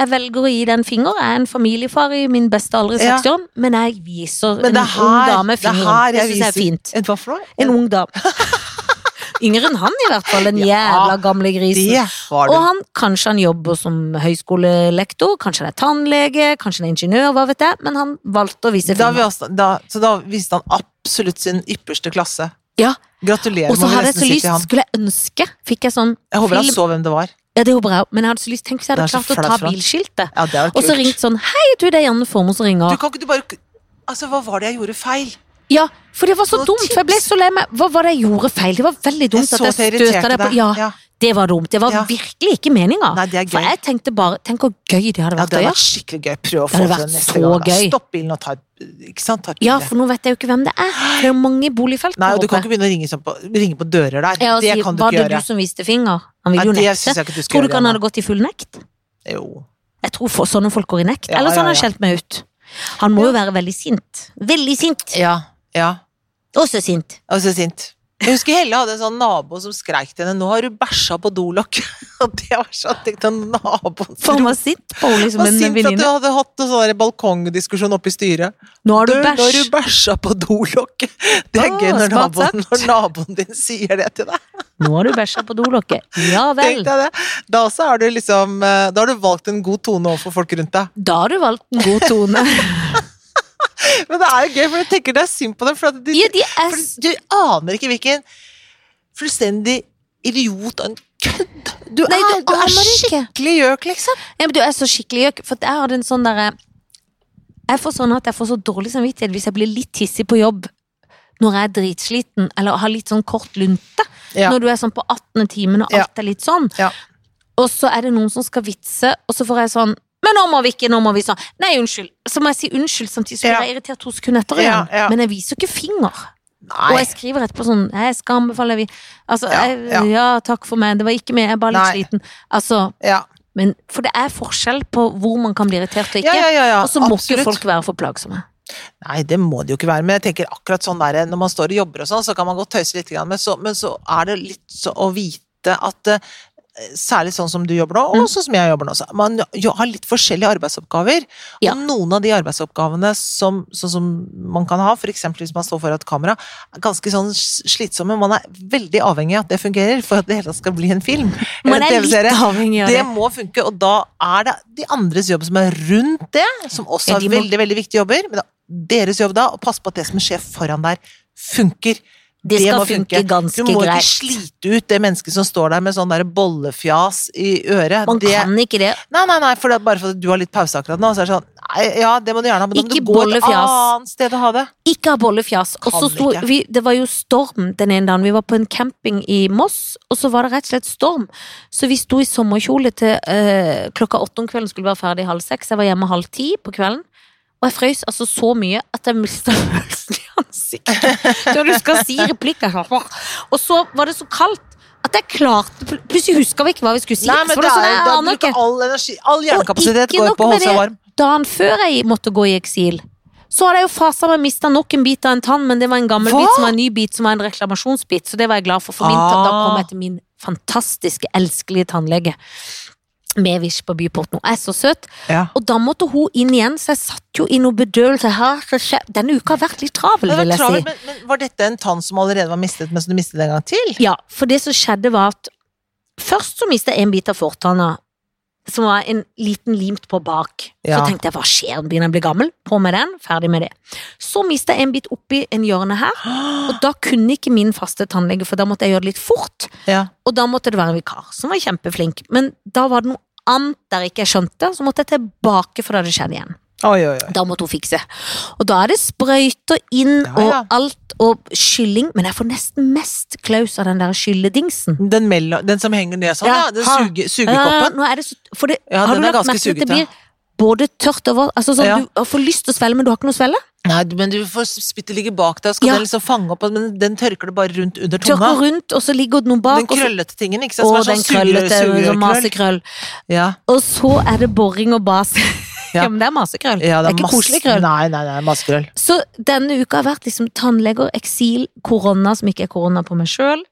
[SPEAKER 2] jeg velger å gi den finger, jeg er en familiefar i min beste alder i
[SPEAKER 1] Ja.
[SPEAKER 2] 60 år, men jeg viser
[SPEAKER 1] Men det
[SPEAKER 2] en
[SPEAKER 1] er
[SPEAKER 2] ung
[SPEAKER 1] her,
[SPEAKER 2] dame
[SPEAKER 1] det er
[SPEAKER 2] fingeren.
[SPEAKER 1] her
[SPEAKER 2] Det,
[SPEAKER 1] jeg
[SPEAKER 2] synes jeg er
[SPEAKER 1] viser
[SPEAKER 2] fint.
[SPEAKER 1] En hva for noe?
[SPEAKER 2] En
[SPEAKER 1] *laughs*
[SPEAKER 2] ung dame. Yngre enn han i hvert fall, den jævla gamle grisen.
[SPEAKER 1] Det var
[SPEAKER 2] Og
[SPEAKER 1] du.
[SPEAKER 2] han, kanskje han jobber som høyskolelektor, kanskje han er tannlege, kanskje han er ingeniør, hva vet jeg, men han valgte å vise
[SPEAKER 1] Da, vi
[SPEAKER 2] fingeren.
[SPEAKER 1] også- da, så da viste han absolutt sin ypperste klasse.
[SPEAKER 2] Ja,
[SPEAKER 1] Gratulerer,
[SPEAKER 2] og så
[SPEAKER 1] må vi
[SPEAKER 2] hadde jeg
[SPEAKER 1] nesten
[SPEAKER 2] så
[SPEAKER 1] si
[SPEAKER 2] lyst,
[SPEAKER 1] til han.
[SPEAKER 2] skulle jeg ønske, fikk jeg sånn
[SPEAKER 1] Jeg håper han
[SPEAKER 2] film.
[SPEAKER 1] så hvem det var.
[SPEAKER 2] Ja, det håper jeg òg, men jeg hadde så lyst, tenk hvis jeg hadde
[SPEAKER 1] Det er så
[SPEAKER 2] klart å
[SPEAKER 1] flaut
[SPEAKER 2] ta
[SPEAKER 1] for han.
[SPEAKER 2] bilskiltet.
[SPEAKER 1] Ja, det var
[SPEAKER 2] Og så
[SPEAKER 1] kult.
[SPEAKER 2] ringt sånn Hei, du, det er Janne Formoe som
[SPEAKER 1] Du
[SPEAKER 2] ringer.
[SPEAKER 1] kan ikke du bare Altså, hva var det jeg gjorde feil?
[SPEAKER 2] Ja, for det var så
[SPEAKER 1] Noe
[SPEAKER 2] dumt, for jeg ble så lei meg. Hva var det jeg gjorde feil? Det var veldig
[SPEAKER 1] Jeg
[SPEAKER 2] dumt
[SPEAKER 1] så at
[SPEAKER 2] at
[SPEAKER 1] jeg
[SPEAKER 2] jeg støta
[SPEAKER 1] irriterte
[SPEAKER 2] deg på
[SPEAKER 1] deg.
[SPEAKER 2] Ja,
[SPEAKER 1] Ja.
[SPEAKER 2] det var dumt. Det var
[SPEAKER 1] Ja.
[SPEAKER 2] virkelig ikke meninga.
[SPEAKER 1] Nei, det er
[SPEAKER 2] For
[SPEAKER 1] gøy.
[SPEAKER 2] jeg tenkte bare Tenk hvor gøy det hadde
[SPEAKER 1] Ja,
[SPEAKER 2] vært
[SPEAKER 1] det hadde
[SPEAKER 2] å
[SPEAKER 1] vært
[SPEAKER 2] gjøre.
[SPEAKER 1] skikkelig gøy. Prøv å få
[SPEAKER 2] Det
[SPEAKER 1] til
[SPEAKER 2] hadde vært
[SPEAKER 1] det
[SPEAKER 2] så
[SPEAKER 1] neste gang. da.
[SPEAKER 2] gøy.
[SPEAKER 1] Stopp bilen og ta et- Ikke sant? Ta et
[SPEAKER 2] Ja,
[SPEAKER 1] bilde.
[SPEAKER 2] for nå vet jeg jo ikke hvem det er. Det er jo mange boligfelt
[SPEAKER 1] Nei, og
[SPEAKER 2] der
[SPEAKER 1] du kan
[SPEAKER 2] oppe.
[SPEAKER 1] ikke begynne å ringe, sånn på, ringe på dører der.
[SPEAKER 2] Ja, og
[SPEAKER 1] det
[SPEAKER 2] si,
[SPEAKER 1] kan du
[SPEAKER 2] var
[SPEAKER 1] ikke
[SPEAKER 2] det
[SPEAKER 1] gjøre.
[SPEAKER 2] du som viste finger? Han
[SPEAKER 1] Nei,
[SPEAKER 2] ville jo
[SPEAKER 1] det syns
[SPEAKER 2] nekte.
[SPEAKER 1] jeg ikke du skal
[SPEAKER 2] Tror du ikke
[SPEAKER 1] gjøre.
[SPEAKER 2] han
[SPEAKER 1] Anna.
[SPEAKER 2] hadde gått i full nekt?
[SPEAKER 1] Jo.
[SPEAKER 2] Jeg tror for, sånne folk går i nekt.
[SPEAKER 1] Ja,
[SPEAKER 2] Eller så
[SPEAKER 1] ja,
[SPEAKER 2] har han
[SPEAKER 1] ja.
[SPEAKER 2] skjelt meg ut. Han må jo være veldig sint. Veldig sint.
[SPEAKER 1] Ja. ja.
[SPEAKER 2] Også sint.
[SPEAKER 1] Og så sint. Jeg husker Helle hadde en sånn nabo som skreik til henne 'nå har du bæsja på dolokk'. *laughs* Og det var sånn jeg tenkte naboen
[SPEAKER 2] For han var sint på henne,
[SPEAKER 1] Det var
[SPEAKER 2] liksom, en
[SPEAKER 1] sint at du
[SPEAKER 2] venninne.
[SPEAKER 1] hadde hatt en sånn der balkongdiskusjon oppe i styret.
[SPEAKER 2] Nå har
[SPEAKER 1] Du,
[SPEAKER 2] du
[SPEAKER 1] nå har
[SPEAKER 2] bæsj.
[SPEAKER 1] du bæsja på dolokket! Det er
[SPEAKER 2] Å,
[SPEAKER 1] gøy når
[SPEAKER 2] smart
[SPEAKER 1] naboen, når naboen din sier det til deg.
[SPEAKER 2] Nå har du bæsja på dolokket. Ja
[SPEAKER 1] Tenk
[SPEAKER 2] vel.
[SPEAKER 1] deg det. Da, også er du liksom, eh, da har du valgt en god tone overfor folk rundt deg.
[SPEAKER 2] Da har du valgt en god
[SPEAKER 1] *laughs*
[SPEAKER 2] tone.
[SPEAKER 1] Men det er jo gøy, for jeg tenker det er synd på dem. For at de,
[SPEAKER 2] Ja, de er
[SPEAKER 1] for du aner ikke hvilken fullstendig idiot og en kødd du
[SPEAKER 2] Nei,
[SPEAKER 1] er!
[SPEAKER 2] du
[SPEAKER 1] Du er
[SPEAKER 2] aner det ikke.
[SPEAKER 1] skikkelig gjøk, liksom.
[SPEAKER 2] ja, men Du er så skikkelig gjøk, for jeg hadde en sånn derre Jeg får sånn at jeg får så dårlig samvittighet hvis jeg blir litt hissig på jobb når jeg er dritsliten, eller har litt sånn kort lunte.
[SPEAKER 1] Ja.
[SPEAKER 2] Når du er sånn på 18. timen og
[SPEAKER 1] Ja.
[SPEAKER 2] alt er litt sånn.
[SPEAKER 1] Ja.
[SPEAKER 2] Og så er det noen som skal vitse, og så får jeg sånn men nå må vi ikke, nå må vi sånn. Nei, unnskyld. Så må jeg si unnskyld, samtidig så blir
[SPEAKER 1] Ja.
[SPEAKER 2] jeg irritert to sekunder etter
[SPEAKER 1] Ja,
[SPEAKER 2] igjen.
[SPEAKER 1] ja.
[SPEAKER 2] Men jeg viser jo ikke finger.
[SPEAKER 1] Nei.
[SPEAKER 2] Og jeg skriver etterpå sånn Jeg skal anbefale vi Altså,
[SPEAKER 1] Ja,
[SPEAKER 2] jeg, ja.
[SPEAKER 1] ja.
[SPEAKER 2] takk for meg, det var ikke meg, jeg er bare litt
[SPEAKER 1] Nei.
[SPEAKER 2] sliten. Altså,
[SPEAKER 1] Ja,
[SPEAKER 2] men For det er forskjell på hvor man kan bli irritert og
[SPEAKER 1] ja,
[SPEAKER 2] ikke.
[SPEAKER 1] ja. ja, ja.
[SPEAKER 2] Og så må ikke
[SPEAKER 1] Absolutt.
[SPEAKER 2] folk være for plagsomme.
[SPEAKER 1] Nei, det må det jo ikke være. Men jeg tenker akkurat sånn der, når man står og jobber og sånn, så kan man godt tøyse litt, grann, men så, men så er det litt så å vite at eh, Særlig sånn som du jobber nå,
[SPEAKER 2] Mm.
[SPEAKER 1] og sånn som jeg jobber nå. så Man jo har litt forskjellige arbeidsoppgaver.
[SPEAKER 2] Ja.
[SPEAKER 1] Og noen av de arbeidsoppgavene som, sånn som man kan ha, f.eks. hvis man står foran et kamera, er ganske sånn slitsomme. Man er veldig avhengig av at det fungerer for at det hele tatt skal bli en film. eller en
[SPEAKER 2] Man er litt
[SPEAKER 1] TV-serie.
[SPEAKER 2] avhengig av
[SPEAKER 1] Det
[SPEAKER 2] det.
[SPEAKER 1] må funke, og da er det de andres jobb som er rundt det, som også
[SPEAKER 2] Ja,
[SPEAKER 1] er
[SPEAKER 2] de må-
[SPEAKER 1] veldig, veldig viktige jobber. Men det er deres jobb da, å passe på at det som skjer foran der, funker.
[SPEAKER 2] Det skal
[SPEAKER 1] må
[SPEAKER 2] funke ganske
[SPEAKER 1] Du må
[SPEAKER 2] greit.
[SPEAKER 1] ikke slite ut det mennesket som står der med sånn der bollefjas i øret.
[SPEAKER 2] Man
[SPEAKER 1] det,
[SPEAKER 2] kan ikke det.
[SPEAKER 1] Nei, nei, nei, for det er bare fordi du har litt pause akkurat nå, så er det sånn nei, Ja, det må du gjerne ha, men da må
[SPEAKER 2] Ikke
[SPEAKER 1] du gå et
[SPEAKER 2] bollefjas.
[SPEAKER 1] annet sted og ha det.
[SPEAKER 2] Ikke ha bollefjas. Og så
[SPEAKER 1] Kan
[SPEAKER 2] sto
[SPEAKER 1] ikke.
[SPEAKER 2] vi Det var jo storm den ene dagen. Vi var på en camping i Moss, og så var det rett og slett storm. Så vi sto i sommerkjole til eh, klokka åtte om kvelden skulle være ferdig halv seks. Jeg var hjemme halv ti på kvelden. Og jeg frøys altså så mye at jeg *laughs* mista følelsen i ansiktet. Når du skal si replikker. Og så var det så kaldt at jeg klarte pl- Plutselig huska vi ikke hva vi skulle si.
[SPEAKER 1] Nei,
[SPEAKER 2] Så
[SPEAKER 1] men
[SPEAKER 2] var det
[SPEAKER 1] det
[SPEAKER 2] sånn,
[SPEAKER 1] er,
[SPEAKER 2] jeg
[SPEAKER 1] da
[SPEAKER 2] aner ikke.
[SPEAKER 1] bruker all energi, all
[SPEAKER 2] Og
[SPEAKER 1] hjernekapasitet
[SPEAKER 2] ikke
[SPEAKER 1] går
[SPEAKER 2] nok
[SPEAKER 1] på å
[SPEAKER 2] med
[SPEAKER 1] holde seg
[SPEAKER 2] det,
[SPEAKER 1] varm.
[SPEAKER 2] Dagen før jeg måtte gå i eksil, så hadde jeg jo fasa meg mista nok en bit av en tann, men det var en gammel
[SPEAKER 1] Hva?
[SPEAKER 2] bit som var en ny bit som var en reklamasjonsbit, så det var jeg glad for, for min, tann- da kom jeg til min fantastiske, elskelige tannlege. med Vish på Byport nå. Jeg er så søt.
[SPEAKER 1] Ja.
[SPEAKER 2] Og da måtte hun inn igjen, så jeg satt jo i noe bedøvelse her. så skje- Denne uka har vært litt travel,
[SPEAKER 1] Men, det
[SPEAKER 2] vil
[SPEAKER 1] var
[SPEAKER 2] jeg si.
[SPEAKER 1] travelt, men, men var dette en tann som allerede var mistet, men som du mistet en gang til?
[SPEAKER 2] Ja, for det som skjedde var at først så mistet jeg en bit av fortanna, som var en liten limt på bak.
[SPEAKER 1] Ja.
[SPEAKER 2] Så tenkte jeg, hva skjer, begynner jeg å bli gammel? På med den, ferdig med det. Så mistet jeg en bit oppi en hjørne her, og *gasps* da kunne ikke min faste tannlege, for da måtte jeg gjøre det litt fort,
[SPEAKER 1] Ja.
[SPEAKER 2] og da måtte det være en vikar, som var kjempeflink. Men da var det noe annet der ikke jeg skjønte, så måtte jeg tilbake, for da hadde det skjedd igjen.
[SPEAKER 1] Oi, oi, oi.
[SPEAKER 2] Da måtte hun fikse. Og da er det sprøyter inn
[SPEAKER 1] Ja, ja.
[SPEAKER 2] og alt og kylling, men jeg får nesten mest klaus av den der skylledingsen.
[SPEAKER 1] Den, mellom, den som henger ned sånn, ja.
[SPEAKER 2] Ja,
[SPEAKER 1] Den
[SPEAKER 2] ha.
[SPEAKER 1] suge, sugekoppen.
[SPEAKER 2] Ja, nå er det så, for det,
[SPEAKER 1] Ja,
[SPEAKER 2] har
[SPEAKER 1] den
[SPEAKER 2] du
[SPEAKER 1] er
[SPEAKER 2] lagt
[SPEAKER 1] ganske
[SPEAKER 2] merke til at det
[SPEAKER 1] sugete.
[SPEAKER 2] blir både tørt over altså sånn,
[SPEAKER 1] Ja.
[SPEAKER 2] Du får lyst til å svelge, men du har ikke noe å svelge.
[SPEAKER 1] Nei, men du får spyttet ligge bak deg, og skal
[SPEAKER 2] Ja.
[SPEAKER 1] den liksom fange opp, men den tørker det bare rundt under tunga.
[SPEAKER 2] Tørker rundt, og så ligger det noen bak.
[SPEAKER 1] Den krøllete tingen, ikke sant? Som
[SPEAKER 2] og så,
[SPEAKER 1] er
[SPEAKER 2] og den
[SPEAKER 1] sånn sugerør-
[SPEAKER 2] krøllete sånn
[SPEAKER 1] sugerørkrøll.
[SPEAKER 2] masekrøll.
[SPEAKER 1] Ja.
[SPEAKER 2] Og så er det boring og bas. *laughs* Ja,
[SPEAKER 1] Ja.
[SPEAKER 2] men det er masekrøll.
[SPEAKER 1] Ja,
[SPEAKER 2] det er ikke
[SPEAKER 1] masse-
[SPEAKER 2] koselig krøll.
[SPEAKER 1] Nei, nei, nei, masekrøll.
[SPEAKER 2] Så denne uka har vært liksom tannleger, eksil, korona, som ikke er korona på meg sjøl.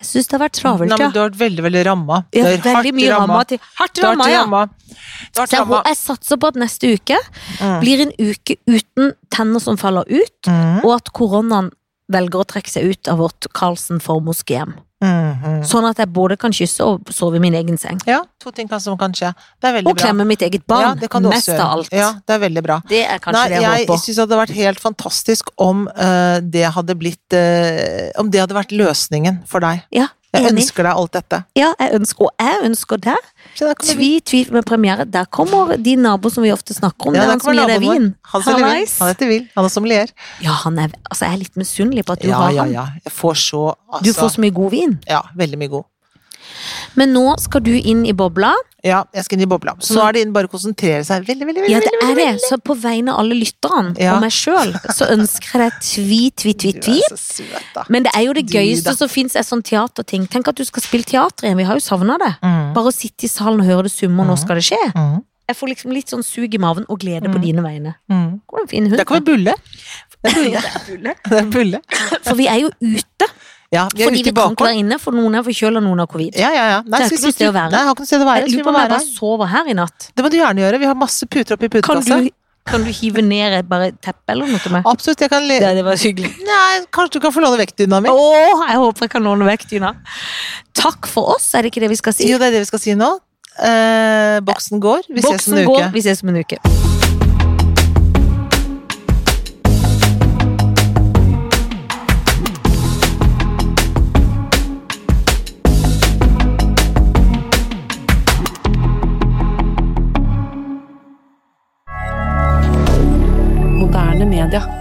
[SPEAKER 2] Jeg syns det har vært travelt,
[SPEAKER 1] Nei,
[SPEAKER 2] ja.
[SPEAKER 1] men du har vært veldig, veldig ramma. Du
[SPEAKER 2] Jeg har
[SPEAKER 1] er hardt
[SPEAKER 2] veldig mye ramma. til- Hardt
[SPEAKER 1] Du har
[SPEAKER 2] ramma,
[SPEAKER 1] vært
[SPEAKER 2] ja.
[SPEAKER 1] ramma. Du har vært
[SPEAKER 2] Så jeg,
[SPEAKER 1] ramma.
[SPEAKER 2] hå- jeg satser på at neste uke
[SPEAKER 1] Mm.
[SPEAKER 2] blir en uke uten tenner som faller ut,
[SPEAKER 1] Mm,
[SPEAKER 2] og at koronaen velger å trekke seg ut av vårt Carlsen-formoskehjem.
[SPEAKER 1] mm, mm.
[SPEAKER 2] Sånn at jeg både kan kysse og sove i min egen seng.
[SPEAKER 1] Ja, to ting kan, som kan skje. Det er veldig
[SPEAKER 2] Og klemme mitt eget
[SPEAKER 1] bra. Ja,
[SPEAKER 2] barn.
[SPEAKER 1] det kan du også
[SPEAKER 2] Mest av
[SPEAKER 1] gjøre.
[SPEAKER 2] alt.
[SPEAKER 1] Ja, det er veldig bra.
[SPEAKER 2] Det er kanskje det
[SPEAKER 1] Nei,
[SPEAKER 2] jeg
[SPEAKER 1] jeg
[SPEAKER 2] håper.
[SPEAKER 1] syns det hadde vært helt fantastisk om eh, det hadde blitt eh, Om det hadde vært løsningen for deg.
[SPEAKER 2] Ja,
[SPEAKER 1] Jeg
[SPEAKER 2] enig.
[SPEAKER 1] ønsker deg alt dette.
[SPEAKER 2] Ja, jeg ønsker, og jeg ønsker det.
[SPEAKER 1] Så da kommer vi-
[SPEAKER 2] Tvi, tvi med premiere. Der kommer de naboer som vi ofte snakker om.
[SPEAKER 1] Ja,
[SPEAKER 2] det er
[SPEAKER 1] da
[SPEAKER 2] han som
[SPEAKER 1] kommer
[SPEAKER 2] gir deg
[SPEAKER 1] naboen vår.
[SPEAKER 2] vin.
[SPEAKER 1] Han selger vin.
[SPEAKER 2] Hallais.
[SPEAKER 1] Han heter Will. Han er sommelier.
[SPEAKER 2] Ja, han er, altså, jeg er litt misunnelig på at du
[SPEAKER 1] Ja,
[SPEAKER 2] har
[SPEAKER 1] ja,
[SPEAKER 2] han.
[SPEAKER 1] ja. Jeg får så altså,
[SPEAKER 2] Du får så mye god vin.
[SPEAKER 1] Ja, veldig mye god.
[SPEAKER 2] Men nå skal du inn i bobla.
[SPEAKER 1] Ja, jeg skal inn i bobla. Så nå er det inn bare å konsentrere seg. Veldig, veldig, veldig.
[SPEAKER 2] Ja, det
[SPEAKER 1] veldig,
[SPEAKER 2] er
[SPEAKER 1] veldig.
[SPEAKER 2] det. Så på vegne av alle lytterne
[SPEAKER 1] Ja.
[SPEAKER 2] og meg sjøl, så ønsker jeg deg tvi, tvi, tvi,
[SPEAKER 1] Du
[SPEAKER 2] tvi.
[SPEAKER 1] er så søt, da.
[SPEAKER 2] Men det er jo det
[SPEAKER 1] Du, da.
[SPEAKER 2] gøyeste som fins, er sånn teaterting. Tenk at du skal spille teater igjen, vi har jo savna det.
[SPEAKER 1] Mm.
[SPEAKER 2] Bare å sitte i salen og høre det summe, og nå skal det skje.
[SPEAKER 1] Mm.
[SPEAKER 2] Jeg får liksom litt sånn sug i maven og glede på
[SPEAKER 1] Mm.
[SPEAKER 2] dine vegne.
[SPEAKER 1] Mm.
[SPEAKER 2] Hvor er en fin hund?
[SPEAKER 1] Da kan vi bulle. Det er
[SPEAKER 2] *laughs*
[SPEAKER 1] bulle. *laughs* Det er bulle.
[SPEAKER 2] For vi er jo ute,
[SPEAKER 1] Ja, vi er
[SPEAKER 2] fordi
[SPEAKER 1] ute
[SPEAKER 2] vi
[SPEAKER 1] i
[SPEAKER 2] kan ikke
[SPEAKER 1] bakgården.
[SPEAKER 2] være inne, for noen er forkjøla, noen har covid.
[SPEAKER 1] Ja, ja, ja. Nei,
[SPEAKER 2] Det er
[SPEAKER 1] skal
[SPEAKER 2] ikke
[SPEAKER 1] vi
[SPEAKER 2] noe sted å
[SPEAKER 1] sitte-
[SPEAKER 2] være.
[SPEAKER 1] Nei, jeg har ikke noe sted å være.
[SPEAKER 2] Jeg
[SPEAKER 1] så vi
[SPEAKER 2] lurer på
[SPEAKER 1] må
[SPEAKER 2] om jeg
[SPEAKER 1] være
[SPEAKER 2] bare
[SPEAKER 1] her.
[SPEAKER 2] sover her i natt.
[SPEAKER 1] Det må du gjerne gjøre. Vi har masse puter oppi
[SPEAKER 2] Kan
[SPEAKER 1] putekassa.
[SPEAKER 2] du, kan du hive ned et bare teppe eller noe til meg?
[SPEAKER 1] Absolutt. Jeg kan le...
[SPEAKER 2] Det, det var hyggelig.
[SPEAKER 1] Nei, kanskje du kan få låne vektdyna mi?
[SPEAKER 2] Åh, jeg håper jeg kan låne vekk dyna. Takk for oss, er det ikke det vi skal si?
[SPEAKER 1] Jo, det er det vi skal si nå. Eh, boksen går. Vi ses
[SPEAKER 2] Boksen
[SPEAKER 1] en uke.
[SPEAKER 2] går, vi ses om en uke.
[SPEAKER 3] moderne media.